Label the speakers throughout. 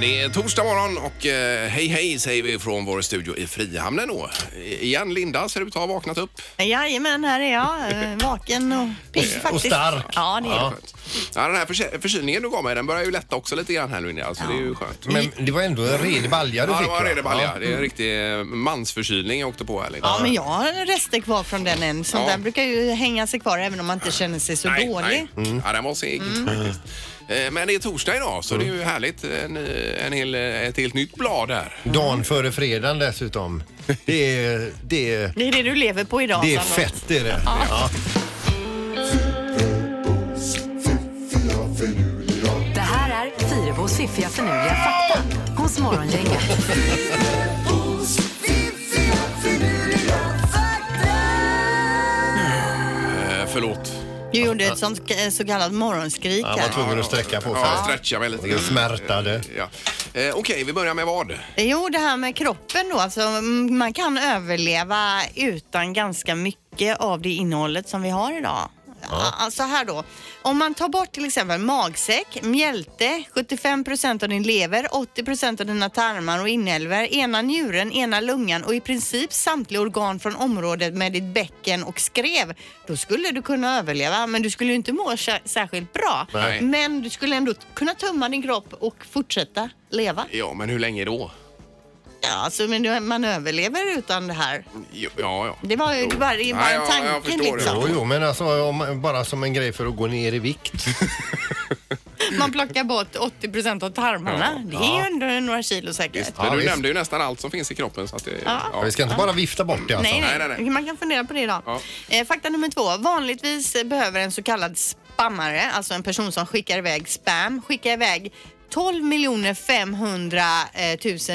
Speaker 1: Det är torsdag morgon och eh, hej hej säger vi från vår studio i Frihamnen då. I- Igen Linda ser ut att ha vaknat upp.
Speaker 2: Jajamän, här är jag. eh, Vaken och pigg faktiskt.
Speaker 3: Och stark.
Speaker 2: Ja, det är
Speaker 3: Ja.
Speaker 2: ja.
Speaker 1: Ja, den här förky- förkylningen du gav mig den börjar ju lätta också lite grann här nu Linda, så det är ju skönt.
Speaker 3: Men det var ändå en red balja du
Speaker 1: Ja, det
Speaker 3: fick
Speaker 1: var en
Speaker 3: va?
Speaker 1: redig balja. Det är en riktig eh, mansförkylning jag åkte på här Linda.
Speaker 2: Ja, men jag har rester kvar från den än. Sånt
Speaker 1: Ja.
Speaker 2: där brukar ju hänga sig kvar även om man inte känner sig så dålig.
Speaker 1: Nej. Ja, den var seg faktiskt. Eh, Men det är torsdag idag så det är ju härligt. En, eh, en hel, ett helt nytt blad här.
Speaker 3: Ja. Dagen före fredagen dessutom. Det är, det är,
Speaker 2: Det är det du lever på idag.
Speaker 3: det är
Speaker 2: Sandra.
Speaker 3: fett det är det. Ja.
Speaker 4: Det här är Fyrabos fiffiga förnuliga fakta hos Morgongänget.
Speaker 1: Eh, Förlåt.
Speaker 2: Du gjorde ett sånt eh, så kallat morgonskrik
Speaker 3: Han var
Speaker 2: här.
Speaker 3: tvungen att sträcka på sig.
Speaker 1: Ja, stretcha mig lite
Speaker 3: Det smärtade.
Speaker 1: Ja. Eh, Okej, vi börjar med vad?
Speaker 2: Jo, det här med kroppen då. Alltså, mm, man kan överleva utan ganska mycket av det innehållet som vi har idag. Ja. Alltså här då. Om man tar bort till exempel magsäck, mjälte, 75 av din lever, 80 av dina tarmar och inälvor, ena njuren, ena lungan och i princip samtliga organ från området med ditt bäcken och skrev, då skulle du kunna överleva. Men du skulle ju inte må sä- särskilt bra.
Speaker 1: Nej.
Speaker 2: Men du skulle ändå kunna tömma din kropp och fortsätta leva.
Speaker 1: Ja, men hur länge då?
Speaker 2: Ja, alltså, men du- man överlever utan det här.
Speaker 1: Jo, ja, ja.
Speaker 2: Det var ju
Speaker 1: Jo.
Speaker 2: bara, det var
Speaker 1: Nej,
Speaker 2: en
Speaker 1: ja, jag
Speaker 2: tanke
Speaker 1: förstår det.
Speaker 2: liksom.
Speaker 3: Jo, jo, men alltså om, bara som en grej för att gå ner i vikt.
Speaker 2: Man plockar bort 80 av tarmarna. det är ju ändå några kilo säkert.
Speaker 1: Men
Speaker 3: Ja,
Speaker 1: du
Speaker 3: visst.
Speaker 1: nämnde ju nästan allt som finns i kroppen. Så att det,
Speaker 2: Ja.
Speaker 3: Vi ska inte bara vifta bort det alltså.
Speaker 2: Nej, nej,
Speaker 1: Nej, nej, nej.
Speaker 2: man kan fundera på det idag.
Speaker 1: Ja.
Speaker 2: Eh, fakta nummer två. Vanligtvis behöver en så kallad spammare, alltså en person som skickar iväg spam, skicka iväg 12 miljoner 500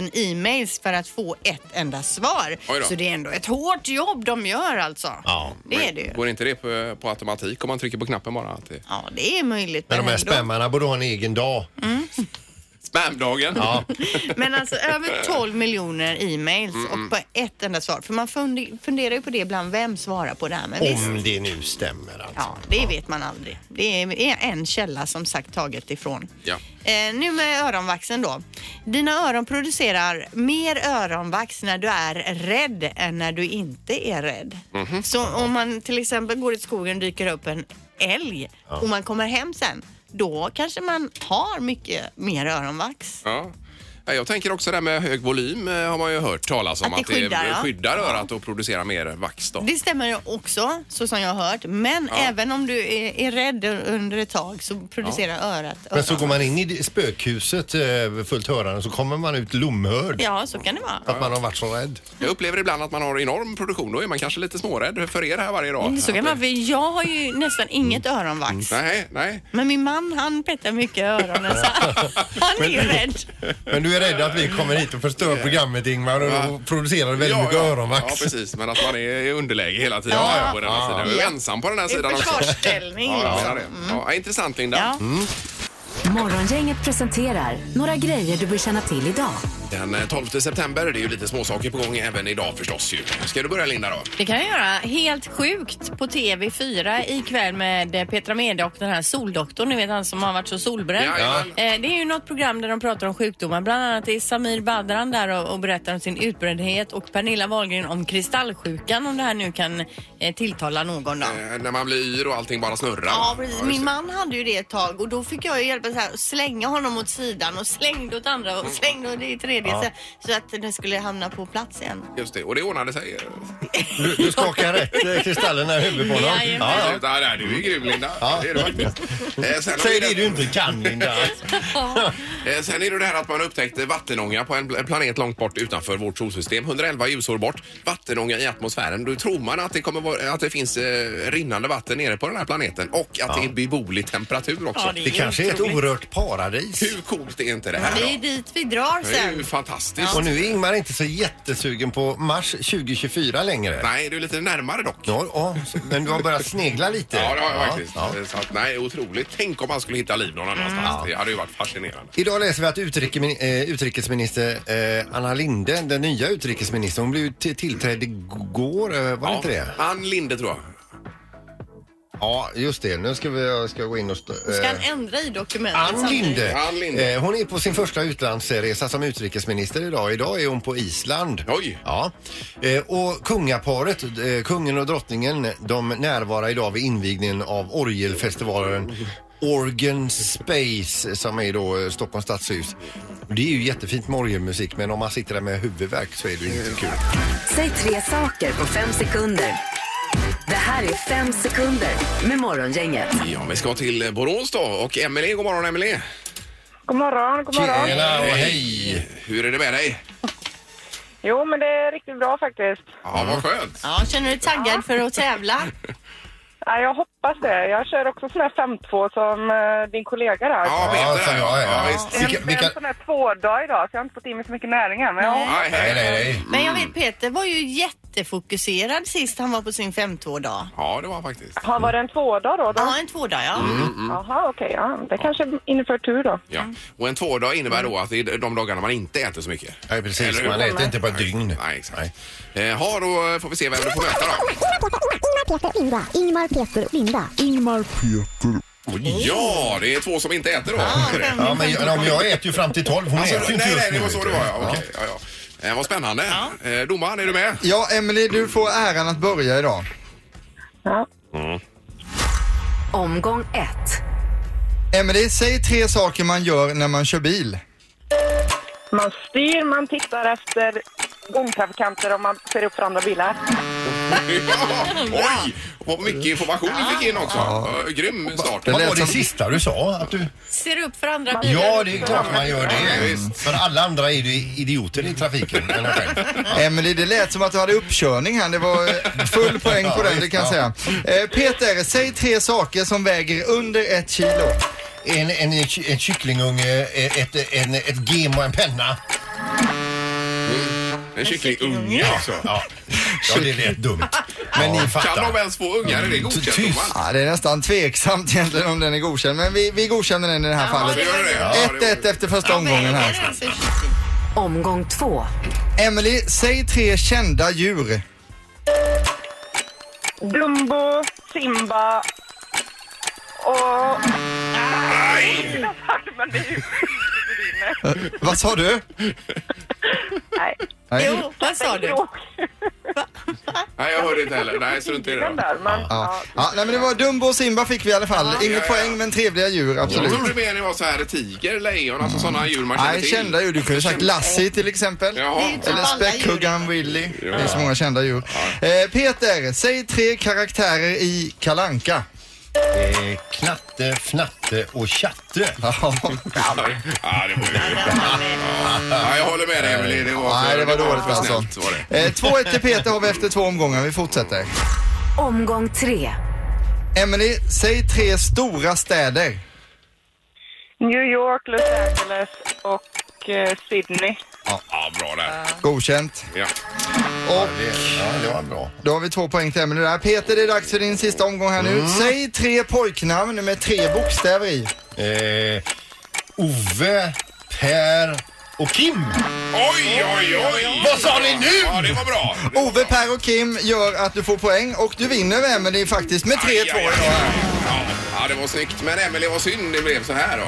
Speaker 2: 000 e-mails för att få ett enda svar.
Speaker 1: Oj då.
Speaker 2: Så det är ändå ett hårt jobb de gör alltså.
Speaker 3: Ja.
Speaker 2: Det är det ju.
Speaker 1: Går inte det på, på automatik om man trycker på knappen bara? Att det...
Speaker 2: Ja, det är möjligt.
Speaker 3: Men de här
Speaker 2: ändå.
Speaker 3: spämmarna borde ha en egen dag.
Speaker 1: Spamdagen!
Speaker 3: Ja.
Speaker 2: Men alltså över 12 miljoner e-mails och på ett enda svar. För man funder, funderar ju på det ibland, vem svarar på det här? Men visst,
Speaker 3: Om det nu stämmer alltså.
Speaker 2: ja, det vet man aldrig. Det är är en källa som sagt taget ifrån.
Speaker 1: Ja.
Speaker 2: Eh, nu med öronvaxen då. Dina öron producerar mer öronvax när du är rädd än när du inte är rädd. Så om man till exempel går i skogen och dyker upp en älg och man kommer hem sen, då kanske man har mycket mer öronvax.
Speaker 1: Ja. Ja, Jag tänker också det här med hög volym eh, har man ju hört talas om.
Speaker 2: Att det skyddar, ja.
Speaker 1: skyddar örat och producerar mer vax då.
Speaker 2: Det stämmer ju också, så som jag har hört. Men även om du är, är rädd under ett tag så producerar örat
Speaker 3: Men så går man in i det- spökhuset eh, fullt hörande så kommer man ut lomhörd.
Speaker 2: Ja, så kan det vara.
Speaker 3: Att man har varit så rädd.
Speaker 1: Jag upplever ibland att man har enorm produktion. Då är man kanske lite smårädd för er här varje dag.
Speaker 2: Så kan Mm, det vara, för jag har ju nästan inget öronvax.
Speaker 1: Mm, Nej, nej.
Speaker 2: Men min man han petar mycket i öronen så han är ju rädd.
Speaker 3: Men du är rädd att vi kommer hit och förstör programmet Ingmar och då producerar du väldigt mycket
Speaker 1: Ja,
Speaker 3: öronvax.
Speaker 1: precis. Men att man är i underläge hela tiden.
Speaker 2: Ja.
Speaker 1: Ja, ja, på den här sidan. Jag är ju ensam på den här
Speaker 2: I
Speaker 1: sidan också.
Speaker 2: försvarsställning
Speaker 1: Ja, jag menar
Speaker 2: liksom.
Speaker 1: det. Ja, intressant Linda.
Speaker 2: Ja.
Speaker 4: Morgongänget presenterar några grejer du bör känna till idag.
Speaker 1: Den eh, 12 september, det är ju lite småsaker på gång även idag förstås ju. Ska du börja Linda då?
Speaker 2: Det kan jag göra. Helt sjukt på TV4 ikväll med eh, Petra Mede och den här soldoktorn, ni vet han som har varit så solbränd.
Speaker 1: Ja.
Speaker 2: Eh, Det är ju något program där de pratar om sjukdomar. Bland annat är Samir Badran där och, och berättar om sin utbrändhet och Pernilla Wahlgren om kristallsjukan om det här nu kan eh, tilltala någon. Då.
Speaker 1: Eh, när man blir yr och allting bara snurrar.
Speaker 2: Ja, precis.
Speaker 1: just
Speaker 2: Min
Speaker 1: det.
Speaker 2: man hade ju det ett tag och då fick jag ju hjälpa så här, att slänga honom åt sidan och slängde åt andra och slängde åt det tredje så, så att den skulle hamna på plats igen.
Speaker 1: Just det, och det ordnade sig.
Speaker 3: Du, du skakar rätt eh, kristallerna i huvudet på honom.
Speaker 2: Jajamän.
Speaker 3: Ja,
Speaker 1: Ja. Ja, nej, du är grym Linda. Det är du faktiskt. Eh, sen
Speaker 3: ja.
Speaker 1: har
Speaker 3: Säg
Speaker 1: vi
Speaker 3: det du inte kan Linda.
Speaker 1: Eh, Sen är det det här att man upptäckte vattenånga på en pl- planet långt bort utanför vårt solsystem. 111 ljusår bort. Vattenånga i atmosfären. Då tror man att det, kommer vara, att det finns eh, rinnande vatten nere på den här planeten och att det är beboelig temperatur också.
Speaker 2: Ja, det är
Speaker 3: Det kanske är ett orört paradis.
Speaker 1: Hur coolt är inte det här?
Speaker 2: Det är
Speaker 1: då?
Speaker 2: dit vi drar
Speaker 1: Det är ju
Speaker 2: sen.
Speaker 1: fantastiskt.
Speaker 3: Och nu är Ingmar inte så jättesugen på mars 2024 längre.
Speaker 1: Nej, du är lite närmare dock.
Speaker 3: Ja, ja, så- men du har börjat snegla lite.
Speaker 1: Ja, Mm. det har jag faktiskt. Eh,
Speaker 3: ja.
Speaker 1: Så att, nej, otroligt. Tänk om man skulle hitta liv någon annanstans. Det hade ju varit fascinerande.
Speaker 3: Idag läser vi att utrikemin- eh, utrikesminister eh, Anna Linde, den nya utrikesministern, hon blev ju till- tillträdd igår, eh, var det inte det?
Speaker 1: Ann Linde tror jag.
Speaker 3: Ja, just det. Nu ska, vi, ska jag gå in och... Stå,
Speaker 2: Ska
Speaker 3: eh,
Speaker 2: han ändra i dokumentet?
Speaker 3: Ann
Speaker 2: samtidigt?
Speaker 3: Linde.
Speaker 1: Ann Linde.
Speaker 3: Eh, Hon är på sin första utlandsresa som utrikesminister idag. Idag är hon på Island.
Speaker 1: Oj.
Speaker 3: Ja. Eh, Och kungaparet, eh, kungen och drottningen, de närvarar idag vid invigningen av orgelfestivalen Organ Space som är då eh, Stockholms stadshus. Det är ju jättefint med orgelmusik men om man sitter där med huvudvärk så är det ju inte kul.
Speaker 4: Säg tre saker på fem sekunder. Det här är fem sekunder med Morgongänget.
Speaker 1: Ja, vi ska till Borås då och Emelie, god morgon Emelie.
Speaker 5: God morgon, god morgon.
Speaker 3: Tjena och hej!
Speaker 1: Hur är det med dig?
Speaker 5: Jo, men det är riktigt bra faktiskt.
Speaker 1: Ja, vad skönt.
Speaker 2: Ja, känner du dig taggad för att tävla?
Speaker 5: Ja, jag hoppas det. Jag kör också sån här 5-2 som eh, din kollega där.
Speaker 1: Ja,
Speaker 3: Ja,
Speaker 1: Peter
Speaker 3: fan, ja, ja.
Speaker 1: visst.
Speaker 5: En,
Speaker 3: Vilka- vilka-
Speaker 5: en sån här tvådag idag, så jag har inte fått in mig så mycket näring än. Men ja,
Speaker 1: Nej, hej.
Speaker 3: nej.
Speaker 2: Men jag vet Peter var ju jättefokuserad sist han var på sin femtådag.
Speaker 1: Ja, det var han faktiskt.
Speaker 5: har var det en tvådag då? då?
Speaker 2: Ja, en tvådag ja.
Speaker 3: Mm,
Speaker 5: Jaha, okej. ja. Det kanske inför tur då.
Speaker 1: Ja. Och en tvådag innebär då att det är de dagarna man inte äter så mycket.
Speaker 3: Nej precis,
Speaker 1: Eller hur?
Speaker 3: man äter inte på ett dygn.
Speaker 1: Nej, exakt. Eh, ha, då får vi se vem du får möta då.
Speaker 6: Ingmar, Peter, Linda. Ingmar, Peter.
Speaker 1: Ja, det är två som inte äter då. Är det?
Speaker 3: Ja, men jag, jag äter ju fram till tolv. Hon äter ju
Speaker 1: Alltså, Nej,
Speaker 3: inte just
Speaker 1: nej, det
Speaker 3: nu,
Speaker 1: var
Speaker 3: vet
Speaker 1: så
Speaker 3: du.
Speaker 1: det var. Ja, okej. ja, ja. Eh, vad spännande. Eh, domaren, är du med?
Speaker 7: Ja, Emily, du får äran att börja idag.
Speaker 5: Ja.
Speaker 4: Omgång ett.
Speaker 7: Emily, säg tre saker man gör när man kör bil.
Speaker 5: Man styr, man tittar efter gångtrafikanter om man ser upp för andra bilar.
Speaker 1: Ja, oj! Vad mycket information vi fick in också. Eh, Grym start.
Speaker 3: Vad
Speaker 7: lät
Speaker 3: var det
Speaker 7: som-
Speaker 3: sista du sa? Att du...
Speaker 2: Ser upp för andra bilar.
Speaker 3: Ja, det är klart man gör
Speaker 1: Ja,
Speaker 3: det.
Speaker 1: visst.
Speaker 3: För alla andra är ju idioter i trafiken. än jag själv.
Speaker 7: Emily, det lät som att du hade uppkörning här. Det var eh, full poäng på den, det kan jag säga. Eh, Peter, säg tre saker som väger under ett kilo.
Speaker 3: En, en, en kycklingunge, eh, ett, en, ett gem och en penna.
Speaker 1: En kycklingunge också.
Speaker 3: Ja, ja det lät dumt. Men ni
Speaker 1: Kan de
Speaker 3: fattar.
Speaker 1: ens få ungar? Är det godkänt,
Speaker 3: Tyst.
Speaker 1: domaren?
Speaker 7: Ja, det är nästan tveksamt egentligen om den är godkänd, men vi, vi godkänner den i det här fallet.
Speaker 1: det var det. Ja, det var
Speaker 7: 1-1
Speaker 1: det.
Speaker 7: efter första omgången här.
Speaker 4: Omgång två.
Speaker 7: Emily, säg tre kända djur.
Speaker 5: Dumbo, Simba och...
Speaker 1: Nej!
Speaker 5: Men det är ju...
Speaker 7: Vad sa du?
Speaker 5: Nej,
Speaker 7: Nej.
Speaker 2: Jo, vad sa du?
Speaker 1: Nej, jag hörde inte heller. Nej, strunt i det
Speaker 5: Den
Speaker 1: då.
Speaker 5: där, men...
Speaker 7: Ja.
Speaker 5: Ja.
Speaker 7: Ja, nej, men det var Dumbo och Simba fick vi i alla fall. Inget
Speaker 1: Ja, ja.
Speaker 7: poäng men trevliga djur,
Speaker 1: Jag
Speaker 7: absolut.
Speaker 1: trodde mer ni var så här tiger, lejon, alltså sådana djur man känner
Speaker 7: Nej,
Speaker 1: till.
Speaker 7: kända djur. Du kunde sagt Lassie till exempel.
Speaker 1: Jaha.
Speaker 7: Eller
Speaker 2: Alla djur.
Speaker 7: späckhuggaren Willy. Det är så många kända djur. Eh, Peter, säg tre karaktärer i Kalanka.
Speaker 3: Eh, Knatte, fnatte och tjatte.
Speaker 7: Ja,
Speaker 1: Ja, det var ju... Ja, jag håller med dig, Emelie. Det var,
Speaker 7: Nej, det var dåligt
Speaker 1: för
Speaker 7: alltså.
Speaker 1: snällt, var det.
Speaker 7: Eh, 2-1 till Peter har vi efter två omgångar. Vi fortsätter.
Speaker 4: Omgång tre.
Speaker 7: Emily, säg tre stora städer.
Speaker 5: New York, Los Angeles och eh, Sydney.
Speaker 1: Ja, bra där.
Speaker 7: Godkänt.
Speaker 1: Ja.
Speaker 7: Och
Speaker 3: Ja, det var bra.
Speaker 7: då har vi två poäng till Emily där. Peter, det är dags för din sista omgång här
Speaker 1: Mm.
Speaker 7: nu. Säg tre pojknamn med tre bokstäver i.
Speaker 3: Eh, Ove, Per och Kim.
Speaker 1: Oj, oj, oj!
Speaker 3: Vad sa ni nu?
Speaker 1: Ja, det var bra.
Speaker 7: Ove, Per och Kim gör att du får poäng och du vinner med Emily faktiskt med 3-2
Speaker 1: Aj, aj, aj,
Speaker 7: idag.
Speaker 1: Ja, ja, det var snyggt. Men Emelie, vad synd det blev så här då.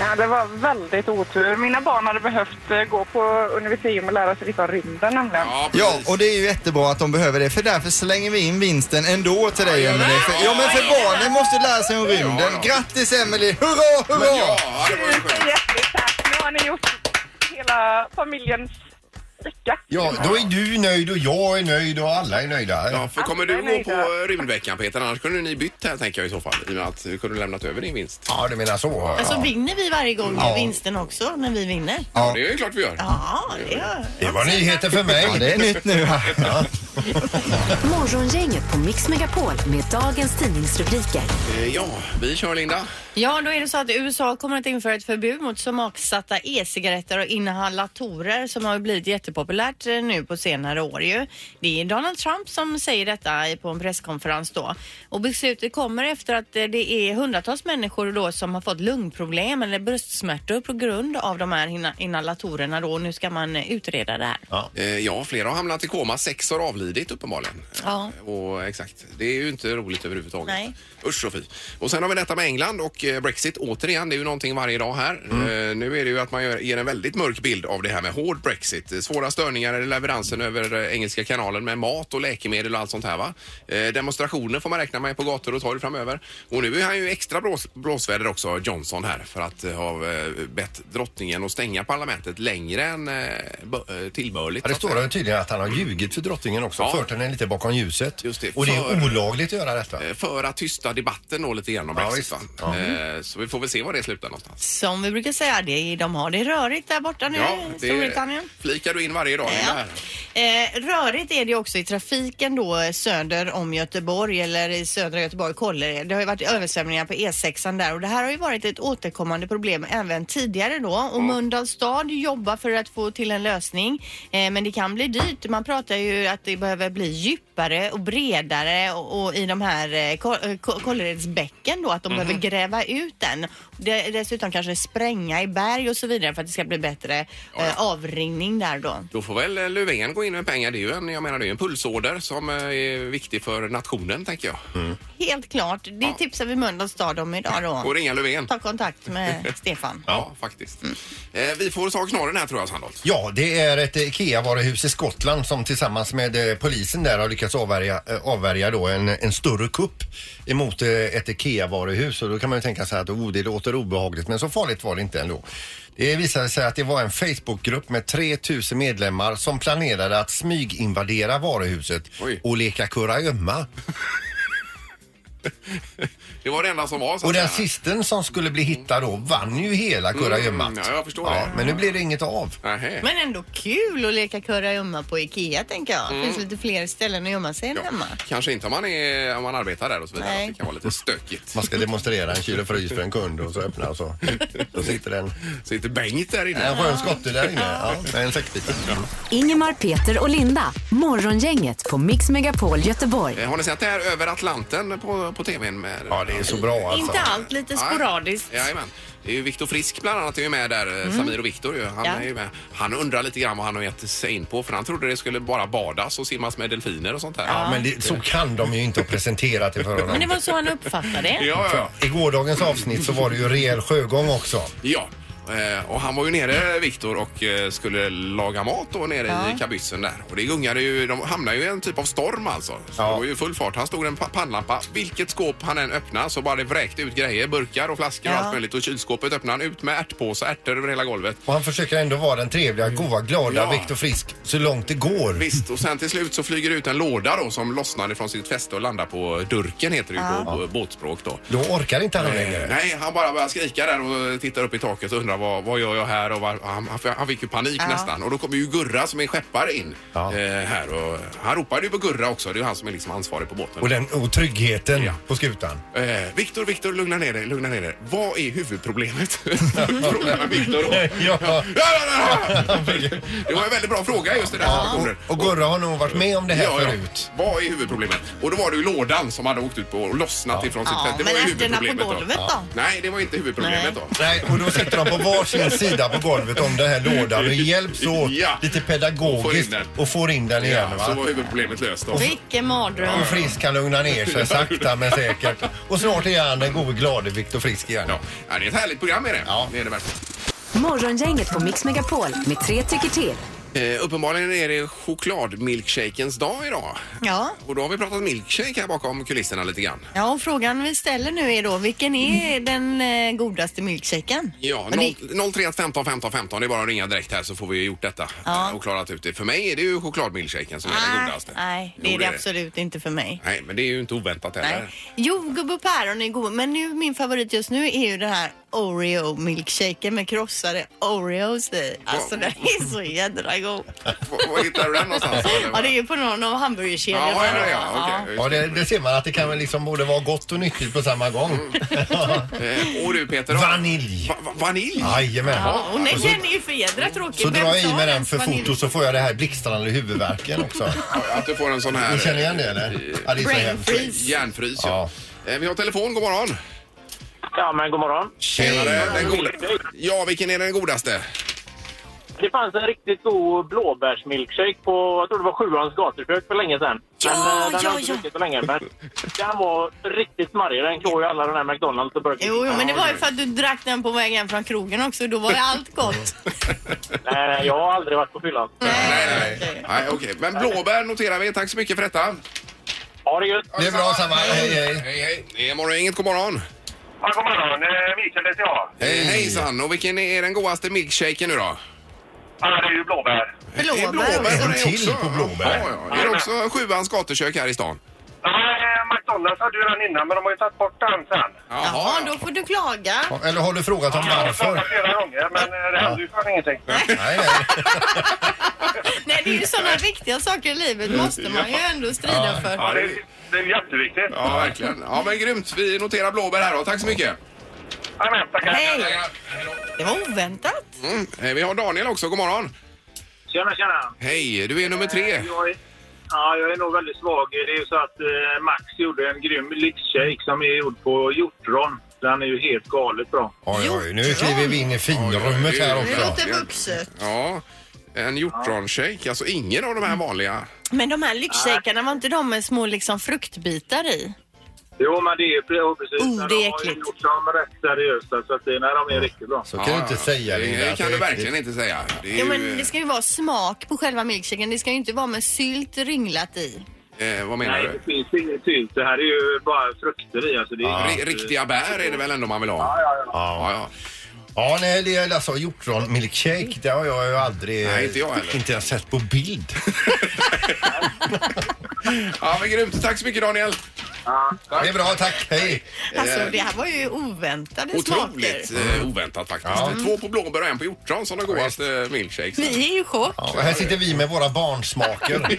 Speaker 5: Ja, det var väldigt otur. Mina barn hade behövt eh, gå på universitet och lära sig lite om rymden nämligen.
Speaker 7: Ja,
Speaker 1: precis.
Speaker 7: och det är ju jättebra att de behöver det för därför slänger vi in vinsten ändå till dig Emelie. För- Ja, men för barnen måste lära sig om rymden.
Speaker 1: ja.
Speaker 7: Grattis Emelie! Hurra, hurra!
Speaker 1: Ja, det var ju skönt.
Speaker 5: Tusen hjärtligt tack! Nu har ni gjort hela familjens lycka.
Speaker 3: Ja, då är du nöjd och jag är nöjd och alla är nöjda.
Speaker 1: Ja, för kommer du
Speaker 5: Alla är
Speaker 1: gå på
Speaker 5: nöjda.
Speaker 1: eh, rymdveckan Peter? Annars kunde ni bytt här tänker jag i så fall. I och med att du kunde lämnat över din vinst.
Speaker 3: Ja, du menar så.
Speaker 2: Men så Alltså, vinner vi varje gång
Speaker 7: Ja.
Speaker 2: vinsten också när vi vinner.
Speaker 7: Ja.
Speaker 1: Det är ju klart vi gör.
Speaker 2: Ja, det gör
Speaker 3: Det var nyheter för mig.
Speaker 7: Ja, det är nytt nu här.
Speaker 4: Morgongänget på Mix Megapol med dagens tidningsrubriker.
Speaker 1: Eh, Ja, vi kör Linda.
Speaker 2: Ja, då är det så att USA kommer att införa ett förbud mot smaksatta e-cigaretter och inhalatorer som har blivit jättepopulärt eh, nu på senare år ju. Det är Donald Trump som säger detta i- på en presskonferens då. Och beslutet kommer efter att eh, det är hundratals människor då som har fått lungproblem eller bröstsmärtor på grund av de här inha- inhalatorerna då. Nu ska man eh, utreda det här.
Speaker 1: Eh, Ja, flera har hamnat i koma. Sex har avlidit ensidigt uppenbarligen.
Speaker 2: Ja.
Speaker 1: Eh, Och exakt, det är ju inte roligt överhuvudtaget.
Speaker 2: Nej.
Speaker 1: Usch och fy. Och sen har vi detta med England och eh, Brexit återigen. Det är ju någonting varje dag här.
Speaker 3: Mm.
Speaker 1: Eh, Nu är det ju att man gör, ger en väldigt mörk bild av det här med hård Brexit. Eh, Svåra störningar i leveransen över eh, Engelska kanalen med mat och läkemedel och allt sånt här va. Eh, Demonstrationer får man räkna med på gator och torg framöver. Och nu är han ju extra blås, blåsväder också, Johnson här, för att eh, ha eh, bett drottningen att stänga parlamentet längre än eh, bö- eh, tillbörligt.
Speaker 3: Ja, det
Speaker 1: så att
Speaker 3: står ju tydligen att han har ljugit för drottningen också.
Speaker 1: Ja.
Speaker 3: Fört henne lite bakom ljuset.
Speaker 1: Just det,
Speaker 3: Och det är
Speaker 1: för-
Speaker 3: olagligt att göra detta.
Speaker 1: Eh, för att tysta debatten då lite grann om
Speaker 3: Ja,
Speaker 1: Brexit.
Speaker 3: visst.
Speaker 1: va?
Speaker 3: Ja.
Speaker 1: Eh, Så vi får väl se var det slutar någonstans.
Speaker 2: Som vi brukar säga, det, de har det rörigt där borta nu i Storbritannien.
Speaker 1: flikar du in varje dag. det
Speaker 2: Ja.
Speaker 1: här.
Speaker 2: Eh, rörigt är det också i trafiken då eh, söder om Göteborg eller i södra Göteborg, Kållered. Det har ju varit översvämningar på E6 där och det här har ju varit ett återkommande problem även tidigare då och Mölndals stad jobbar för att få till en lösning eh, men det kan bli dyrt. Man pratar ju att det behöver bli djupare och bredare och, och i de här eh, Ko- eh, Ko- Kålleredsbäcken då att de behöver gräva ut den. De, dessutom kanske spränga i berg och så vidare för att det ska bli bättre eh, avringning där då.
Speaker 1: Då får väl eh, Löfven gå in med pengar. Det är ju en, jag menar, det är ju en pulsorder som eh, är viktig för nationen, tänker
Speaker 3: Mm.
Speaker 1: jag.
Speaker 2: Helt klart. Det tipsar vi Mölndals stad om idag
Speaker 1: Och
Speaker 2: då.
Speaker 1: ringa Löfven.
Speaker 2: Ta kontakt med Stefan.
Speaker 1: Ja, faktiskt.
Speaker 2: Mm.
Speaker 1: Eh, vi får ta knorren här, tror jag, Sandholt.
Speaker 3: Ja, det är ett eh, IKEA-varuhus i Skottland som tillsammans med eh, polisen där har lyckats avvärja, eh, avvärja då en, en större kupp emot eh, ett IKEA-varuhus. Och då kan man ju tänka sig att oh, det låter obehagligt, men så farligt var det inte ändå. Det visade sig att det var en Facebookgrupp med 3000 medlemmar som planerade att smyginvadera varuhuset
Speaker 1: Oj.
Speaker 3: och leka kurragömma.
Speaker 1: Det var det enda som var. Så
Speaker 3: Och
Speaker 1: att
Speaker 3: den
Speaker 1: säga.
Speaker 3: sisten som skulle bli hittad då vann ju hela kurragömmat.
Speaker 1: Mm, ja, jag förstår det.
Speaker 3: Men nu blir det inget av.
Speaker 1: Nähä.
Speaker 2: Men ändå kul att leka kurragömma på Ikea tänker jag. Det
Speaker 1: Mm.
Speaker 2: finns lite fler ställen att gömma sig än hemma.
Speaker 1: Kanske inte om man, är, om man arbetar där och så vidare.
Speaker 2: Nej.
Speaker 1: Det kan vara lite stökigt.
Speaker 3: Man ska demonstrera en kilo frys för en kund och så öppnar och så. Då sitter den.
Speaker 1: Sitter Bengt där inne.
Speaker 3: En skön skotte där inne. Ja, med en sexbit.
Speaker 4: Ingemar, Peter och Linda. Morgongänget på Mix Megapol Göteborg.
Speaker 1: Eh, Har ni sett det här över Atlanten på, på tvn? Med,
Speaker 3: Ja, det är så bra alltså.
Speaker 2: Inte allt, lite
Speaker 1: Nej.
Speaker 2: sporadiskt.
Speaker 1: Jajamän. Det är ju Viktor Frisk bland annat är ju med där. eh, Samir och Viktor ju. Han
Speaker 2: Mm. Ja.
Speaker 1: är ju med. Han undrar lite grann vad han har gett sig in på för han trodde det skulle bara badas och simmas med delfiner och sånt där.
Speaker 3: Ja, men det, så kan de ju inte ha presenterat det för
Speaker 2: Men det
Speaker 3: honom.
Speaker 2: var så han uppfattade det.
Speaker 1: Ja, ja,
Speaker 3: I gårdagens avsnitt så var det ju rejäl sjögång också.
Speaker 1: ja. Eh, Och han var ju nere, Viktor, och eh, skulle laga mat då nere i kabyssen där. Och det gungade ju, de hamnade ju i en typ av storm alltså. Så
Speaker 3: Ja.
Speaker 1: det var ju full fart. Han stod i en pa- pannlampa. Vilket skåp han än öppnade så bara det vräkte ut grejer. Burkar och flaskor och
Speaker 2: Ja.
Speaker 1: allt möjligt. Och kylskåpet öppnade han ut med ärtpåsar, ärtor över hela golvet.
Speaker 3: Och han försöker ändå vara den trevliga, goa, glada
Speaker 1: Ja.
Speaker 3: Viktor Frisk så långt det går.
Speaker 1: Visst, och sen till slut så flyger det ut en låda då som lossnar ifrån sitt fäste och landar på durken heter det ju på, på båtspråk då.
Speaker 3: Då orkar inte han
Speaker 1: Eh,
Speaker 3: längre.
Speaker 1: Nej, han bara börjar skrika där och tittar upp i taket och undrar vad, vad gör jag här och var, han, han- han fick ju panik nästan. Och då kommer ju Gurra som är skeppare in
Speaker 3: Ja.
Speaker 1: eh, här och han ropade ju på Gurra också. Det är ju han som är liksom ansvarig på båten.
Speaker 3: Och den och tryggheten
Speaker 1: Ja.
Speaker 3: på skutan.
Speaker 1: Eh, Viktor, Viktor, lugna ner dig, lugna ner dig. Vad är huvudproblemet? Frågar Viktor då.
Speaker 3: Ja.
Speaker 1: Ja, ja, ja, ja. Det var en väldigt bra fråga just i den här situationen.
Speaker 3: Och, och Gurra har nog varit med om det här
Speaker 1: Ja, ja.
Speaker 3: förut.
Speaker 1: Vad är huvudproblemet? Och då var det ju lådan som hade åkt ut på och lossnat ifrån sitt
Speaker 2: Ja,
Speaker 1: fält. Det var
Speaker 2: men
Speaker 1: ju
Speaker 2: ärtorna
Speaker 1: huvudproblemet
Speaker 2: på golvet då?
Speaker 1: Nej, det var inte huvudproblemet
Speaker 2: Nej.
Speaker 1: då.
Speaker 3: Nej, och då sitter de på varsin sida på golvet om den här lådan och hjälps åt
Speaker 1: Ja.
Speaker 3: lite
Speaker 1: Och får in
Speaker 3: pedagogiskt
Speaker 1: den.
Speaker 3: och får in den igen.
Speaker 1: Ja, så
Speaker 3: va?
Speaker 1: var huvudproblemet löst då.
Speaker 2: Vilken mardröm.
Speaker 3: Och Frisk kan lugna ner sig sakta men säkert. Och snart är han den gode glade Viktor Frisk igen.
Speaker 1: Ja, Ja, det är ett härligt program är det.
Speaker 3: Ja.
Speaker 1: det, är det verkligen.
Speaker 4: Morgongänget på Mix Megapol med tre tycker till.
Speaker 1: eh, uppenbarligen är det chokladmilkshakens dag idag.
Speaker 2: Ja.
Speaker 1: Och då har vi pratat milkshake här bakom kulisserna lite grann.
Speaker 2: Ja, och frågan vi ställer nu är då, vilken är den eh, godaste milkshaken?
Speaker 1: Ja,
Speaker 2: Men det-
Speaker 1: 031 15 15 15. Det är bara att ringa direkt här så får vi gjort detta
Speaker 2: Ja.
Speaker 1: eh, och klarat ut det. För mig är det ju chokladmilkshaken som är den
Speaker 2: Nej,
Speaker 1: godaste.
Speaker 2: Ah, nej,
Speaker 1: Jo,
Speaker 2: det är det absolut inte för mig.
Speaker 1: Nej, men det är ju inte oväntat heller.
Speaker 2: Nej. Jordgubb och päron är goda, men nu, min favorit just nu är ju den här Oreo-milkshaken med krossade Oreos i. Alltså den är så jädra god.
Speaker 1: Var, var hittar du den någonstans?
Speaker 2: Ja, det är ju på någon av hamburgerkedjorna.
Speaker 1: Ja, ja,
Speaker 2: då.
Speaker 1: ja, okej.
Speaker 3: Ja, det, det ser man att det kan väl liksom både vara gott och nyttigt på samma gång.
Speaker 1: Eh, Och du Peter? då?
Speaker 3: Vanilj!
Speaker 1: Mm. Va va- vanilj?
Speaker 3: Jajamän.
Speaker 2: Ja, och nej, den är ju för jädra tråkig.
Speaker 3: Så
Speaker 2: Vem
Speaker 3: dra i
Speaker 2: tar
Speaker 3: med den
Speaker 2: ens
Speaker 3: för
Speaker 2: vanilj?
Speaker 3: foto så får jag det här blixtrande huvudvärken också.
Speaker 1: Att du får en sån här...
Speaker 3: Ni känner igen det eller? Ja, det är så
Speaker 2: Brain
Speaker 3: hemskt.
Speaker 2: freeze.
Speaker 1: Järnfrys, ja. Eh, Vi har telefon, god morgon.
Speaker 8: Ja, men god morgon.
Speaker 1: Tjenare. Den goda... Ja, vilken är den godaste?
Speaker 8: Det fanns en riktigt god blåbärsmilkshake på, jag tror det var Sjuans gatukök för länge sedan.
Speaker 2: Ja,
Speaker 8: eh, den
Speaker 2: ja,
Speaker 8: har jag inte
Speaker 2: ja.
Speaker 8: druckit så länge, men den var riktigt smarrig. Den klår ju alla de här McDonalds och Burger King.
Speaker 2: Jo, jo, men det var ju för att du drack den på vägen hem från krogen också. Då var ju allt gott.
Speaker 8: Eh, jag har aldrig varit på fyllan.
Speaker 1: Nej, nej, nej. nej okej. Men blåbär noterar vi. Tack så mycket för detta.
Speaker 8: Ha det gött!
Speaker 3: Det är bra samma. Hej, hej.
Speaker 1: Hej, hej. Det är morgon, inget god morgon.
Speaker 8: Ja, god morgon. Eh, Mikael heter jag.
Speaker 1: Hej. Hejsan. Och vilken är den godaste milkshaken nu då?
Speaker 8: Ja, det är ju blåbär.
Speaker 1: Det är
Speaker 2: Blåbär
Speaker 1: blåbär
Speaker 2: också.
Speaker 1: på
Speaker 3: En
Speaker 1: det
Speaker 3: till
Speaker 1: också.
Speaker 3: på blåbär.
Speaker 1: Ja, ja. Är det också Sjuans gatukök här i stan?
Speaker 8: Nej, McDonalds hade ju den innan, men de har ju tagit bort den sen.
Speaker 2: Jaha, då får du klaga.
Speaker 3: Ja, Eller har du frågat om varför?
Speaker 8: flera gånger, men eh, det hände ju fan ingenting.
Speaker 3: Nej, nej.
Speaker 2: Nej, det är ju sådana viktiga saker i livet måste man ju ändå strida för.
Speaker 1: Ja, det är-
Speaker 8: det är jätteviktigt.
Speaker 1: Ja, verkligen. Ja, men grymt. Vi noterar blåbär här då. Tack så mycket.
Speaker 8: Amen, tackar.
Speaker 2: Hej! Det var oväntat.
Speaker 1: Mm. Eh, Vi har Daniel också. God morgon.
Speaker 8: Tjena, tjena.
Speaker 1: Hej, du är nummer
Speaker 8: Eh,
Speaker 1: tre.
Speaker 8: Jag är, ja, jag är nog väldigt svag. Det är ju så att eh, Max gjorde en grym lyxshake som är gjord på hjortron. Den är ju helt galet bra.
Speaker 3: Oj, oj, nu kliver vi in i finrummet här
Speaker 2: Det
Speaker 3: också.
Speaker 2: låter vuxet.
Speaker 1: Ja, en hjortronshake. Alltså ingen av de här vanliga.
Speaker 2: Men de här lyxshakarna, var inte de med små liksom fruktbitar i?
Speaker 8: Jo, men det är pre- ja, precis.
Speaker 2: Oh,
Speaker 8: Men
Speaker 2: det är
Speaker 8: de har ju
Speaker 2: äckligt.
Speaker 8: gjort dem rätt seriösa så att det, nej, de är riktigt bra.
Speaker 3: Så kan du inte säga
Speaker 1: det.
Speaker 3: Linda,
Speaker 1: Det
Speaker 3: att
Speaker 1: kan du
Speaker 3: är
Speaker 1: verkligen inte säga. Det är
Speaker 2: Jo,
Speaker 1: ju,
Speaker 2: men det ska ju vara smak på själva milkshaken. Det ska ju inte vara med sylt ringlat i.
Speaker 1: eh, vad menar
Speaker 8: Nej,
Speaker 1: du?
Speaker 8: det finns inget sylt. Det här är ju bara frukter i. Alltså, det är
Speaker 1: Ri- Riktiga bär är det väl ändå man vill ha? Ja, ja.
Speaker 3: Ja, nej, det är alltså hjortron milkshake. Det har jag ju aldrig...
Speaker 1: Nej, inte jag heller.
Speaker 3: Inte ens sett på bild.
Speaker 1: ja, men grymt. Tack så mycket Daniel.
Speaker 3: Det är bra, tack. Hej.
Speaker 2: Alltså det här var ju oväntade smaker.
Speaker 1: Otroligt eh,
Speaker 3: Mm.
Speaker 1: oväntat faktiskt.
Speaker 2: Mm.
Speaker 1: Två på blåbär och en på hjortron som de godaste milkshakes.
Speaker 2: Vi är i chock.
Speaker 3: Ja, och här sitter vi med våra barnsmaker.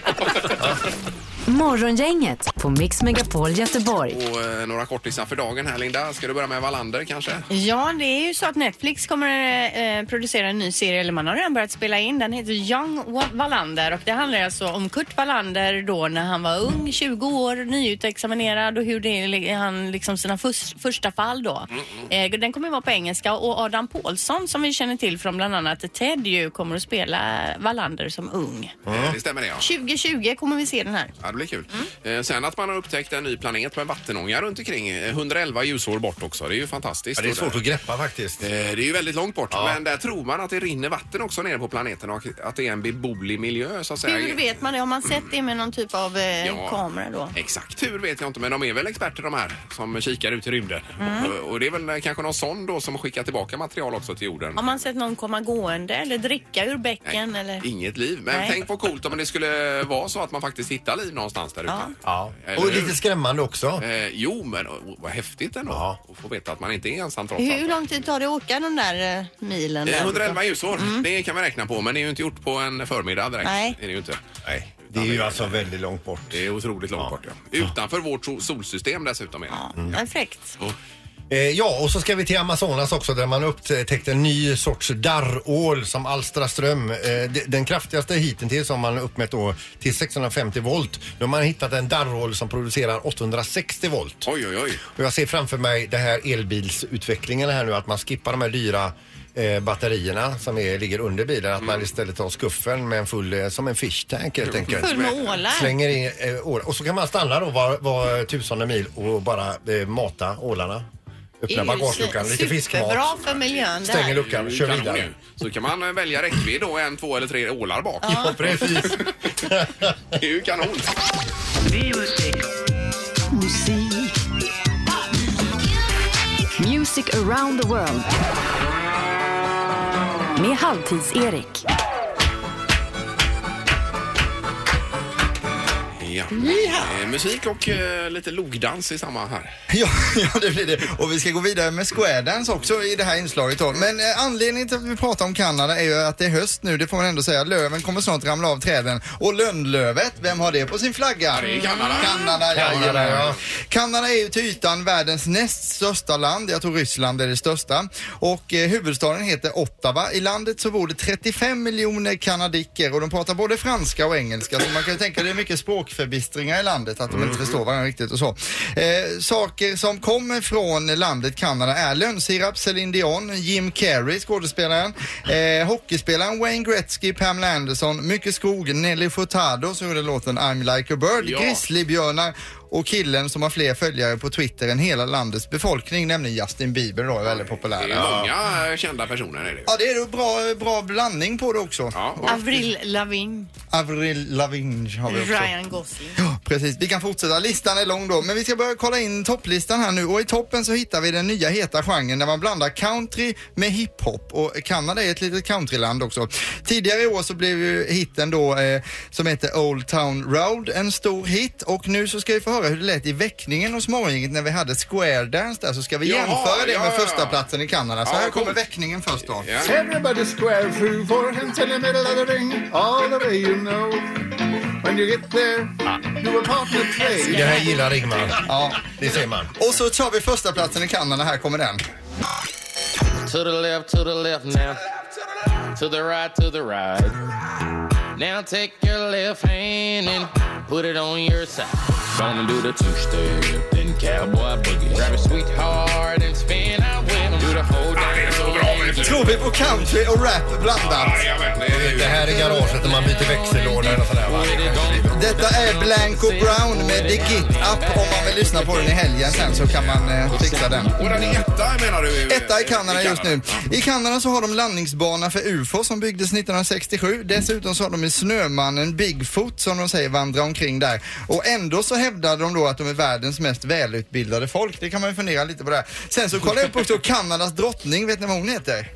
Speaker 4: Morgongänget på Mix Megapol Göteborg.
Speaker 1: Och eh, några kortisar för dagen här Linda. Ska du börja med Wallander kanske?
Speaker 2: Ja, det är ju så att Netflix kommer eh, producera en ny serie, eller man har redan börjat spela in. Den heter Young Wa- Wallander och det handlar alltså om Kurt Wallander då när han var ung, 20 år, nyutexaminerad och hur det är li- han liksom sina fus- första fall då. Eh, den kommer vara på engelska och Adam Pålsson som vi känner till från bland annat Ted ju kommer att spela Wallander som ung.
Speaker 1: Eh, Det stämmer det ja.
Speaker 2: 2020 kommer vi se den här.
Speaker 1: Ja, det blir kul.
Speaker 2: Mm.
Speaker 1: Eh, Sen att man har upptäckt en ny planet med vattenånga runt omkring. eh, 111 ljusår bort också. Det är ju fantastiskt.
Speaker 3: Ja, det är
Speaker 1: Och
Speaker 3: svårt
Speaker 1: där-
Speaker 3: att greppa faktiskt.
Speaker 1: Eh, Det är ju väldigt långt bort, men där tror man att det rinner vatten också nere på planeten och att det är en beboelig miljö så att säga.
Speaker 2: Hur vet man det? Har man sett det med någon typ av eh,
Speaker 1: Ja.
Speaker 2: kamera då?
Speaker 1: Exakt hur vet jag inte, men de är väl experter de här som kikar ut i rymden.
Speaker 2: Mm.
Speaker 1: Och, och det är väl eh, kanske någon sån då som skickar tillbaka material också till jorden.
Speaker 2: Har man sett någon komma gående eller dricka ur bäcken eller?
Speaker 1: Inget liv, men
Speaker 2: Nej.
Speaker 1: tänk vad coolt om det skulle vara så att man faktiskt hittar liv någonstans där ute.
Speaker 3: Ja.
Speaker 1: Eller
Speaker 3: Och
Speaker 1: hur?
Speaker 3: lite skrämmande också.
Speaker 1: Eh, jo, men oh, vad häftigt ändå
Speaker 3: Ja.
Speaker 1: att få veta att man inte är ensam trots allt.
Speaker 2: Hur lång tid tar det att åka de där eh, milen?
Speaker 1: Eh,
Speaker 2: där?
Speaker 1: 111 ljusår, det kan man räkna på, men det är ju inte gjort på en förmiddag direkt.
Speaker 2: Mm. Nej.
Speaker 1: Det är det ju inte.
Speaker 3: Nej, det är ju alltså väldigt långt bort.
Speaker 1: Det är otroligt långt bort, ja. Utanför vårt sol- solsystem dessutom. Är det.
Speaker 2: Ja, men fräckt.
Speaker 3: Eh, ja, och så ska vi till Amazonas också där man upptäckt en ny sorts darrål som alstrar ström. Eh, de- den kraftigaste hittills har man uppmätt då till 650 volt. Nu har man hittat en darrål som producerar 860 volt.
Speaker 1: Oj, oj, oj.
Speaker 3: Och jag ser framför mig det här elbilsutvecklingen här nu att man skippar de här dyra eh, batterierna som är, ligger under bilen. Att man istället tar skuffen med en full, eh, som en fish tank helt enkelt.
Speaker 2: Full med ålar.
Speaker 3: Slänger in eh, ålar. Och så kan man stanna då var, var tusende mil och bara eh, mata ålarna.
Speaker 2: Det
Speaker 3: Öppna
Speaker 2: är ju
Speaker 3: bagageluckan, lite
Speaker 2: Superbra
Speaker 3: fiskmat.
Speaker 2: för miljön det
Speaker 3: Stänger
Speaker 2: här.
Speaker 1: Det är
Speaker 3: luckan,
Speaker 1: ju
Speaker 3: kör
Speaker 1: kanon
Speaker 3: vidare.
Speaker 1: ju. Så kan man eh, välja räckvidd då, en, två eller tre ålar bak.
Speaker 3: Ja, precis.
Speaker 1: Det är ju kanon.
Speaker 4: Music around the world. Med Halvtids-Erik.
Speaker 1: Ja. Eh, musik och eh, lite logdans i samma här.
Speaker 7: Ja, ja, det blir det. Och vi ska gå vidare med Square Dance också i det här inslaget. Då. Men eh, anledningen till att vi pratar om Kanada är ju att det är höst nu, det får man ändå säga. Löven kommer snart ramla av träden. Och lönnlövet, vem har det på sin flagga?
Speaker 1: det är Kanada.
Speaker 7: Kanada,
Speaker 3: Kanada,
Speaker 7: Kanada,
Speaker 3: ja.
Speaker 7: ja. Kanada är ju till ytan världens näst största land. Jag tror Ryssland är det största. Och eh, huvudstaden heter Ottawa. I landet så bor det 35 miljoner kanadiker och de pratar både franska och engelska. Så man kan ju tänka det är mycket språk rasförbistringar i landet, att de inte förstår varandra riktigt och så. Eh, saker som kommer från landet Kanada är lönnsirap, Celine Dion, Jim Carrey, skådespelaren, eh, hockeyspelaren Wayne Gretzky, Pamela Anderson, mycket skog, Nelly Furtado som gjorde låten I'm like a bird,
Speaker 1: Ja.
Speaker 7: grizzlybjörnar och killen som har fler följare på Twitter än hela landets befolkning, nämligen Justin Bieber då, är väldigt populär.
Speaker 1: Det är
Speaker 7: Ja.
Speaker 1: många eh, kända personer är det ju.
Speaker 7: Ja, det är en bra, bra blandning på det också.
Speaker 1: Ja, och-
Speaker 2: Avril Lavigne,
Speaker 7: Avril Lavigne har vi också.
Speaker 2: Ryan Gosling.
Speaker 7: Ja, precis. Vi kan fortsätta. Listan är lång då, men vi ska börja kolla in topplistan här nu och i toppen så hittar vi den nya heta genren där man blandar country med hiphop och Kanada är ett litet countryland också. Tidigare i år så blev ju hitten då eh, som heter Old Town Road en stor hit och nu så ska vi få höra hur det lät i väckningen hos morgongänget när vi hade Square Dance där så ska vi
Speaker 1: Jaha,
Speaker 7: jämföra det
Speaker 1: ja,
Speaker 7: med
Speaker 1: ja.
Speaker 7: första platsen i Kanada. Så
Speaker 1: Ja,
Speaker 7: här
Speaker 1: coolt.
Speaker 7: kommer väckningen först då.
Speaker 1: Ja.
Speaker 9: Everybody square through four hands in the middle of the ring, all the way you know. When you get there, you will part the train.
Speaker 3: Det här gillar Ingmar.
Speaker 7: Ja.
Speaker 3: Det ser man.
Speaker 7: Och så tar vi första platsen i Kanada. Här kommer den.
Speaker 10: To the left, to the left now. To the right, to the right. Now take your left hand and put it on your side. Gonna do the two step, then cowboy boogie. Grab your sweetheart and spin out with 'em. Do the whole
Speaker 1: Ah, det är så bra, vet du.
Speaker 7: Tror vi på country och rap blandat?
Speaker 1: Jajamän, det är
Speaker 3: Det
Speaker 1: ju-
Speaker 3: här är garaget när man byter växellådor och sådär va?
Speaker 7: Detta är Blanco Brown med The Git Up. Om man vill lyssna på den i helgen sen så kan man eh, fixa den.
Speaker 1: Och den är etta menar du? eh,
Speaker 7: Etta i Kanada just nu. I Kanada så har de landningsbana för UFO som byggdes 1967. Dessutom så har de ju snömannen Bigfoot som de säger vandrar omkring där. Och ändå så hävdar de då att de är världens mest välutbildade folk. Det kan man ju fundera lite på där. Sen så kollar jag upp också Kanadas drottning. Vet ni vad hon heter?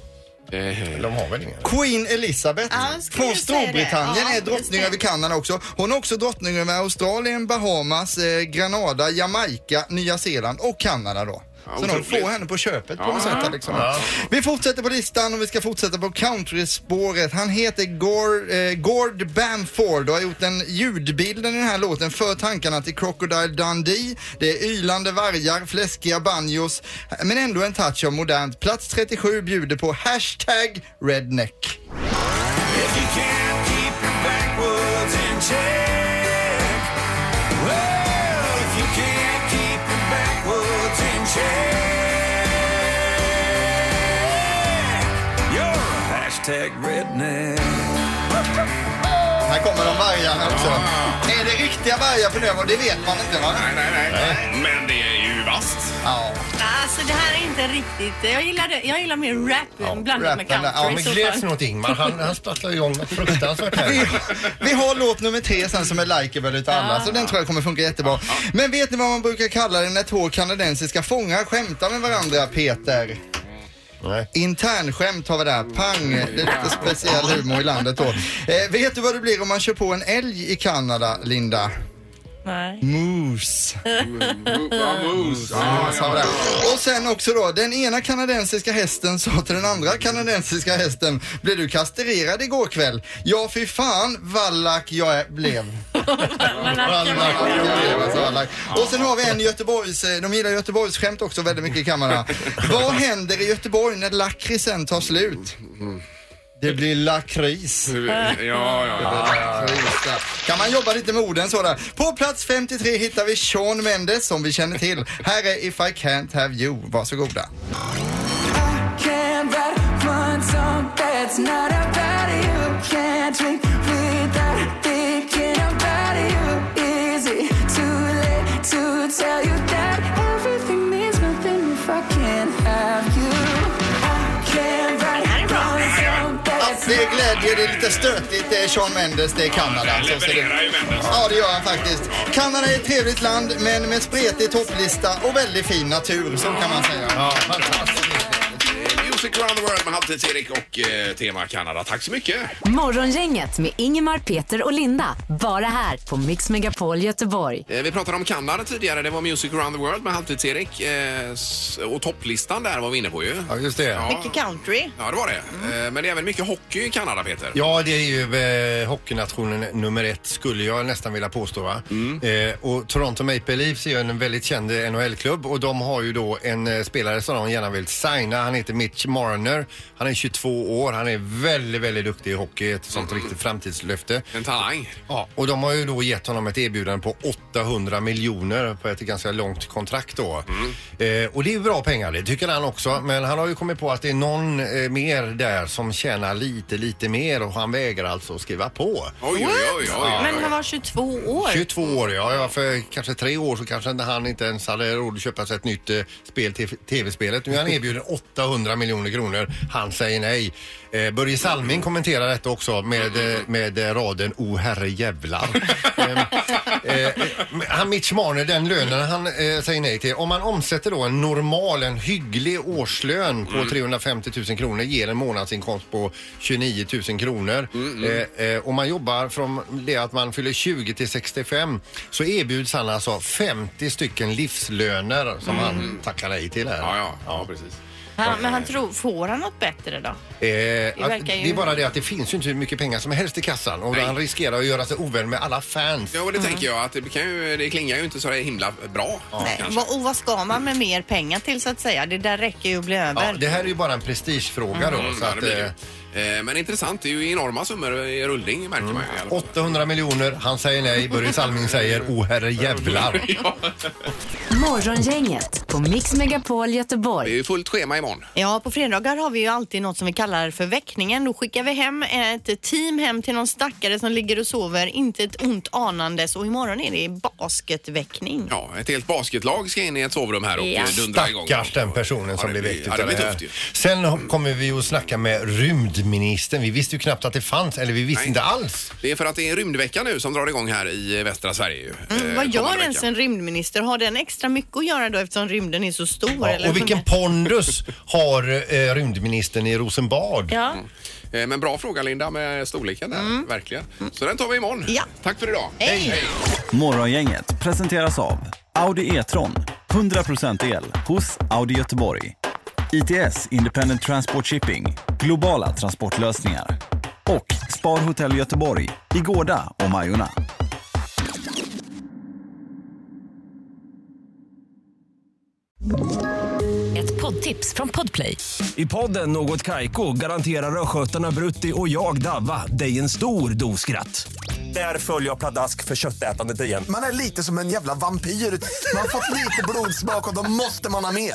Speaker 1: Eh,
Speaker 3: De har väl ingen?
Speaker 7: Queen Elizabeth
Speaker 2: Ja, jag skulle
Speaker 7: från
Speaker 2: säga det.
Speaker 7: Storbritannien
Speaker 2: Ja,
Speaker 7: är drottning
Speaker 2: just det.
Speaker 7: över Kanada också. Hon är också drottning över Australien, Bahamas, eh, Granada, Jamaica, Nya Zeeland och Kanada då.
Speaker 1: Ja,
Speaker 7: Så de
Speaker 1: otroligt.
Speaker 7: får henne på köpet på något sätt. här, Liksom. Vi fortsätter på listan och vi ska fortsätta på countryspåret. Han heter Gore, eh, Gord Bamford och har gjort en ljudbilden i den här låten för tankarna till Crocodile Dundee. Det är ylande vargar, fläskiga banjos men ändå en touch av modernt. Plats 37 bjuder på hashtag redneck. Här kommer de vargarna också. Är det riktiga vargar på Növo? Det vet man inte va?
Speaker 1: Nej, nej, nej, Men det är ju vasst.
Speaker 7: Ja.
Speaker 2: Alltså det här är inte riktigt, jag gillar, det. Jag gillar mer rap blandat med
Speaker 7: rappen där.
Speaker 2: country.
Speaker 7: Ja,
Speaker 3: Ja, men
Speaker 2: i så fall.
Speaker 3: gläds något Ingmar. Han, han sprattlar igång något fruktansvärt
Speaker 7: Vi,
Speaker 3: här.
Speaker 7: vi har låt nummer tre sen som är likeable utav alla så den tror jag kommer funka jättebra. Men vet ni vad man brukar kalla det när två kanadensiska fångar skämtar med varandra Peter?
Speaker 3: Nej.
Speaker 7: Internskämt har vi där. Pang! Det är lite speciell humor i landet då. Eh, vet du vad det blir om man kör på en älg i Kanada, Linda?
Speaker 2: Nej.
Speaker 7: Moose.
Speaker 1: Mus.
Speaker 7: Ja, sa vi det. Och sen också då, den ena kanadensiska hästen sa till den andra kanadensiska hästen, blev du kastrerad igår kväll? Ja, fy fan, vallack jag är- blev. Vallack jag blev, alltså, vallack. Och sen har vi en Göteborgs, eh, de gillar Göteborgsskämt också väldigt mycket i kammaren. Vad händer i Göteborg när lakritsen tar slut? Det blir lakrits.
Speaker 1: Ja, ja, ja.
Speaker 7: Just det. Kan man jobba lite med orden sådär. På plats 53 hittar vi Sean Mendes som vi känner till. Här är If I Can't Have You. Varsågoda. Ja, Det är glädje, det är lite stötigt. Det är Sean Mendes, det är Kanada. alltså.
Speaker 1: Den
Speaker 7: Så ser det
Speaker 1: levererar ju Mendes.
Speaker 7: Ja, det gör han faktiskt. Kanada är ett trevligt land, men med spretig topplista och väldigt fin natur, så kan man säga.
Speaker 1: Music around the world med Halvtids-Erik och eh, Tema Kanada. Tack så mycket.
Speaker 4: Morgongänget med Ingemar, Peter och Linda. Bara här på Mix Megapol Göteborg.
Speaker 1: Eh, Vi pratade om Kanada tidigare. Det var Music around the world med Halvtids-Erik. eh, s- Och topplistan där var vi inne på ju.
Speaker 3: Ja, just det.
Speaker 1: Ja.
Speaker 2: Mycket country.
Speaker 1: Ja, det var det. Eh, Men det är även mycket hockey i Kanada, Peter.
Speaker 3: Ja, det är ju eh, hockeynationen nummer ett skulle jag nästan vilja påstå. Va? Eh, och Toronto Maple Leafs är ju en väldigt känd NHL-klubb och de har ju då en eh, spelare som de gärna vill signa. Han heter Mitch Marner. Han är 22 år. Han är väldigt, väldigt duktig i hockey. Ett sånt riktigt framtidslöfte.
Speaker 1: En talang.
Speaker 3: Ja, och de har ju då gett honom ett erbjudande på 800 miljoner på ett ganska långt kontrakt då. Eh, och det är ju bra pengar, det tycker han också. Men han har ju kommit på att det är någon eh, mer där som tjänar lite, lite mer och han vägrar alltså skriva på.
Speaker 1: Oj, oj, oj, oj, oj.
Speaker 2: Men han var 22 år.
Speaker 3: 22 år, ja. ja, För kanske tre år så kanske inte han inte ens hade råd att köpa sig ett nytt eh, spel till tv-spelet. Nu är han erbjuden 800 miljoner kronor. Han säger nej. Eh, Börje Salming kommenterar detta också med, eh, med eh, raden O herre jävlar. Ehm, eh, han Mitch Marner, den lönen han eh, säger nej till. Om man omsätter då en normal, en hygglig årslön
Speaker 1: Mm.
Speaker 3: på 350 000 kronor ger en månadsinkomst på 29 000 kronor.
Speaker 1: Mm,
Speaker 3: Eh, eh, om man jobbar från det att man fyller 20 till 65 så erbjuds han alltså 50 stycken livslöner som han tackar nej till här.
Speaker 1: Mm. Ja, ja, ja, precis.
Speaker 2: Han, men han tror, får han något bättre då?
Speaker 3: Eh,
Speaker 2: verkar
Speaker 3: att,
Speaker 2: ju-
Speaker 3: det är bara det att det finns ju inte hur mycket pengar som helst i kassan och han riskerar att göra sig ovän med alla fans.
Speaker 1: Ja, och det tänker jag att det, kan ju, det klingar ju inte så där himla bra.
Speaker 2: Nej.
Speaker 1: kanske.
Speaker 2: Vad- Och vad ska man med mer pengar till så att säga? Det där räcker ju att bli
Speaker 3: Ja,
Speaker 2: över.
Speaker 3: det här är ju bara en prestigefråga då.
Speaker 1: Mm,
Speaker 3: så
Speaker 1: ja, det
Speaker 3: att,
Speaker 1: blir
Speaker 3: eh,
Speaker 1: det. Eh, Men intressant, det är ju enorma summor i rullning märker man ju. i alla fall.
Speaker 3: 800 miljoner, han säger nej, Börje Salming säger oh herre jävlar.
Speaker 1: Ja.
Speaker 4: Morgongänget på Mix Megapol
Speaker 1: Det
Speaker 4: Göteborg.
Speaker 1: är ju fullt schema imorgon.
Speaker 2: Ja, på fredagar har vi ju alltid något som vi kallar för väckningen. Då skickar vi hem ett team hem till någon stackare som ligger och sover, inte ett ont anandes. Och imorgon är det basketväckning.
Speaker 1: Ja, ett helt basketlag ska in i ett sovrum här och
Speaker 2: Ja.
Speaker 1: eh, dundra igång.
Speaker 3: Stackars den personen som
Speaker 1: det
Speaker 3: blir
Speaker 1: blir-
Speaker 3: väckt
Speaker 1: ja,
Speaker 3: utav
Speaker 1: det
Speaker 3: det
Speaker 1: blir
Speaker 3: här.
Speaker 1: tufft ju.
Speaker 3: Sen ho- kommer vi att snacka med rymdministern. Vi visste ju knappt att det fanns, eller vi visste
Speaker 1: Nej.
Speaker 3: inte alls.
Speaker 1: Det är för att det är rymdvecka nu som drar igång här i västra Sverige. ju, eh,
Speaker 2: Mm, vad gör
Speaker 1: kommande
Speaker 2: ens
Speaker 1: vecka.
Speaker 2: en rymdminister? Har den extra mycket att göra då eftersom rymden är så stor? eller?
Speaker 3: Ja, och vilken pondus har eh, rymdministern i Rosenbad?
Speaker 2: Ja.
Speaker 1: Eh, Men bra fråga Linda med storleken där, verkligen. Så den tar vi imorgon.
Speaker 2: Mm. Ja.
Speaker 1: Tack för idag.
Speaker 2: Hej.
Speaker 11: Morgongänget presenteras av Audi E-tron. 100% el hos Audi Göteborg. ITS Independent Transport Shipping. Globala transportlösningar. Och Spar Hotel Göteborg i Gårda och Majorna.
Speaker 4: Ett poddtips från Podplay.
Speaker 11: I podden Något Kaiko garanterar östgötarna Brutti och jag, Davva, dig en stor dos skratt. Där följer jag pladask för köttätandet igen.
Speaker 12: Man är lite som en jävla vampyr. Man har fått lite blodsmak och då måste man ha mer.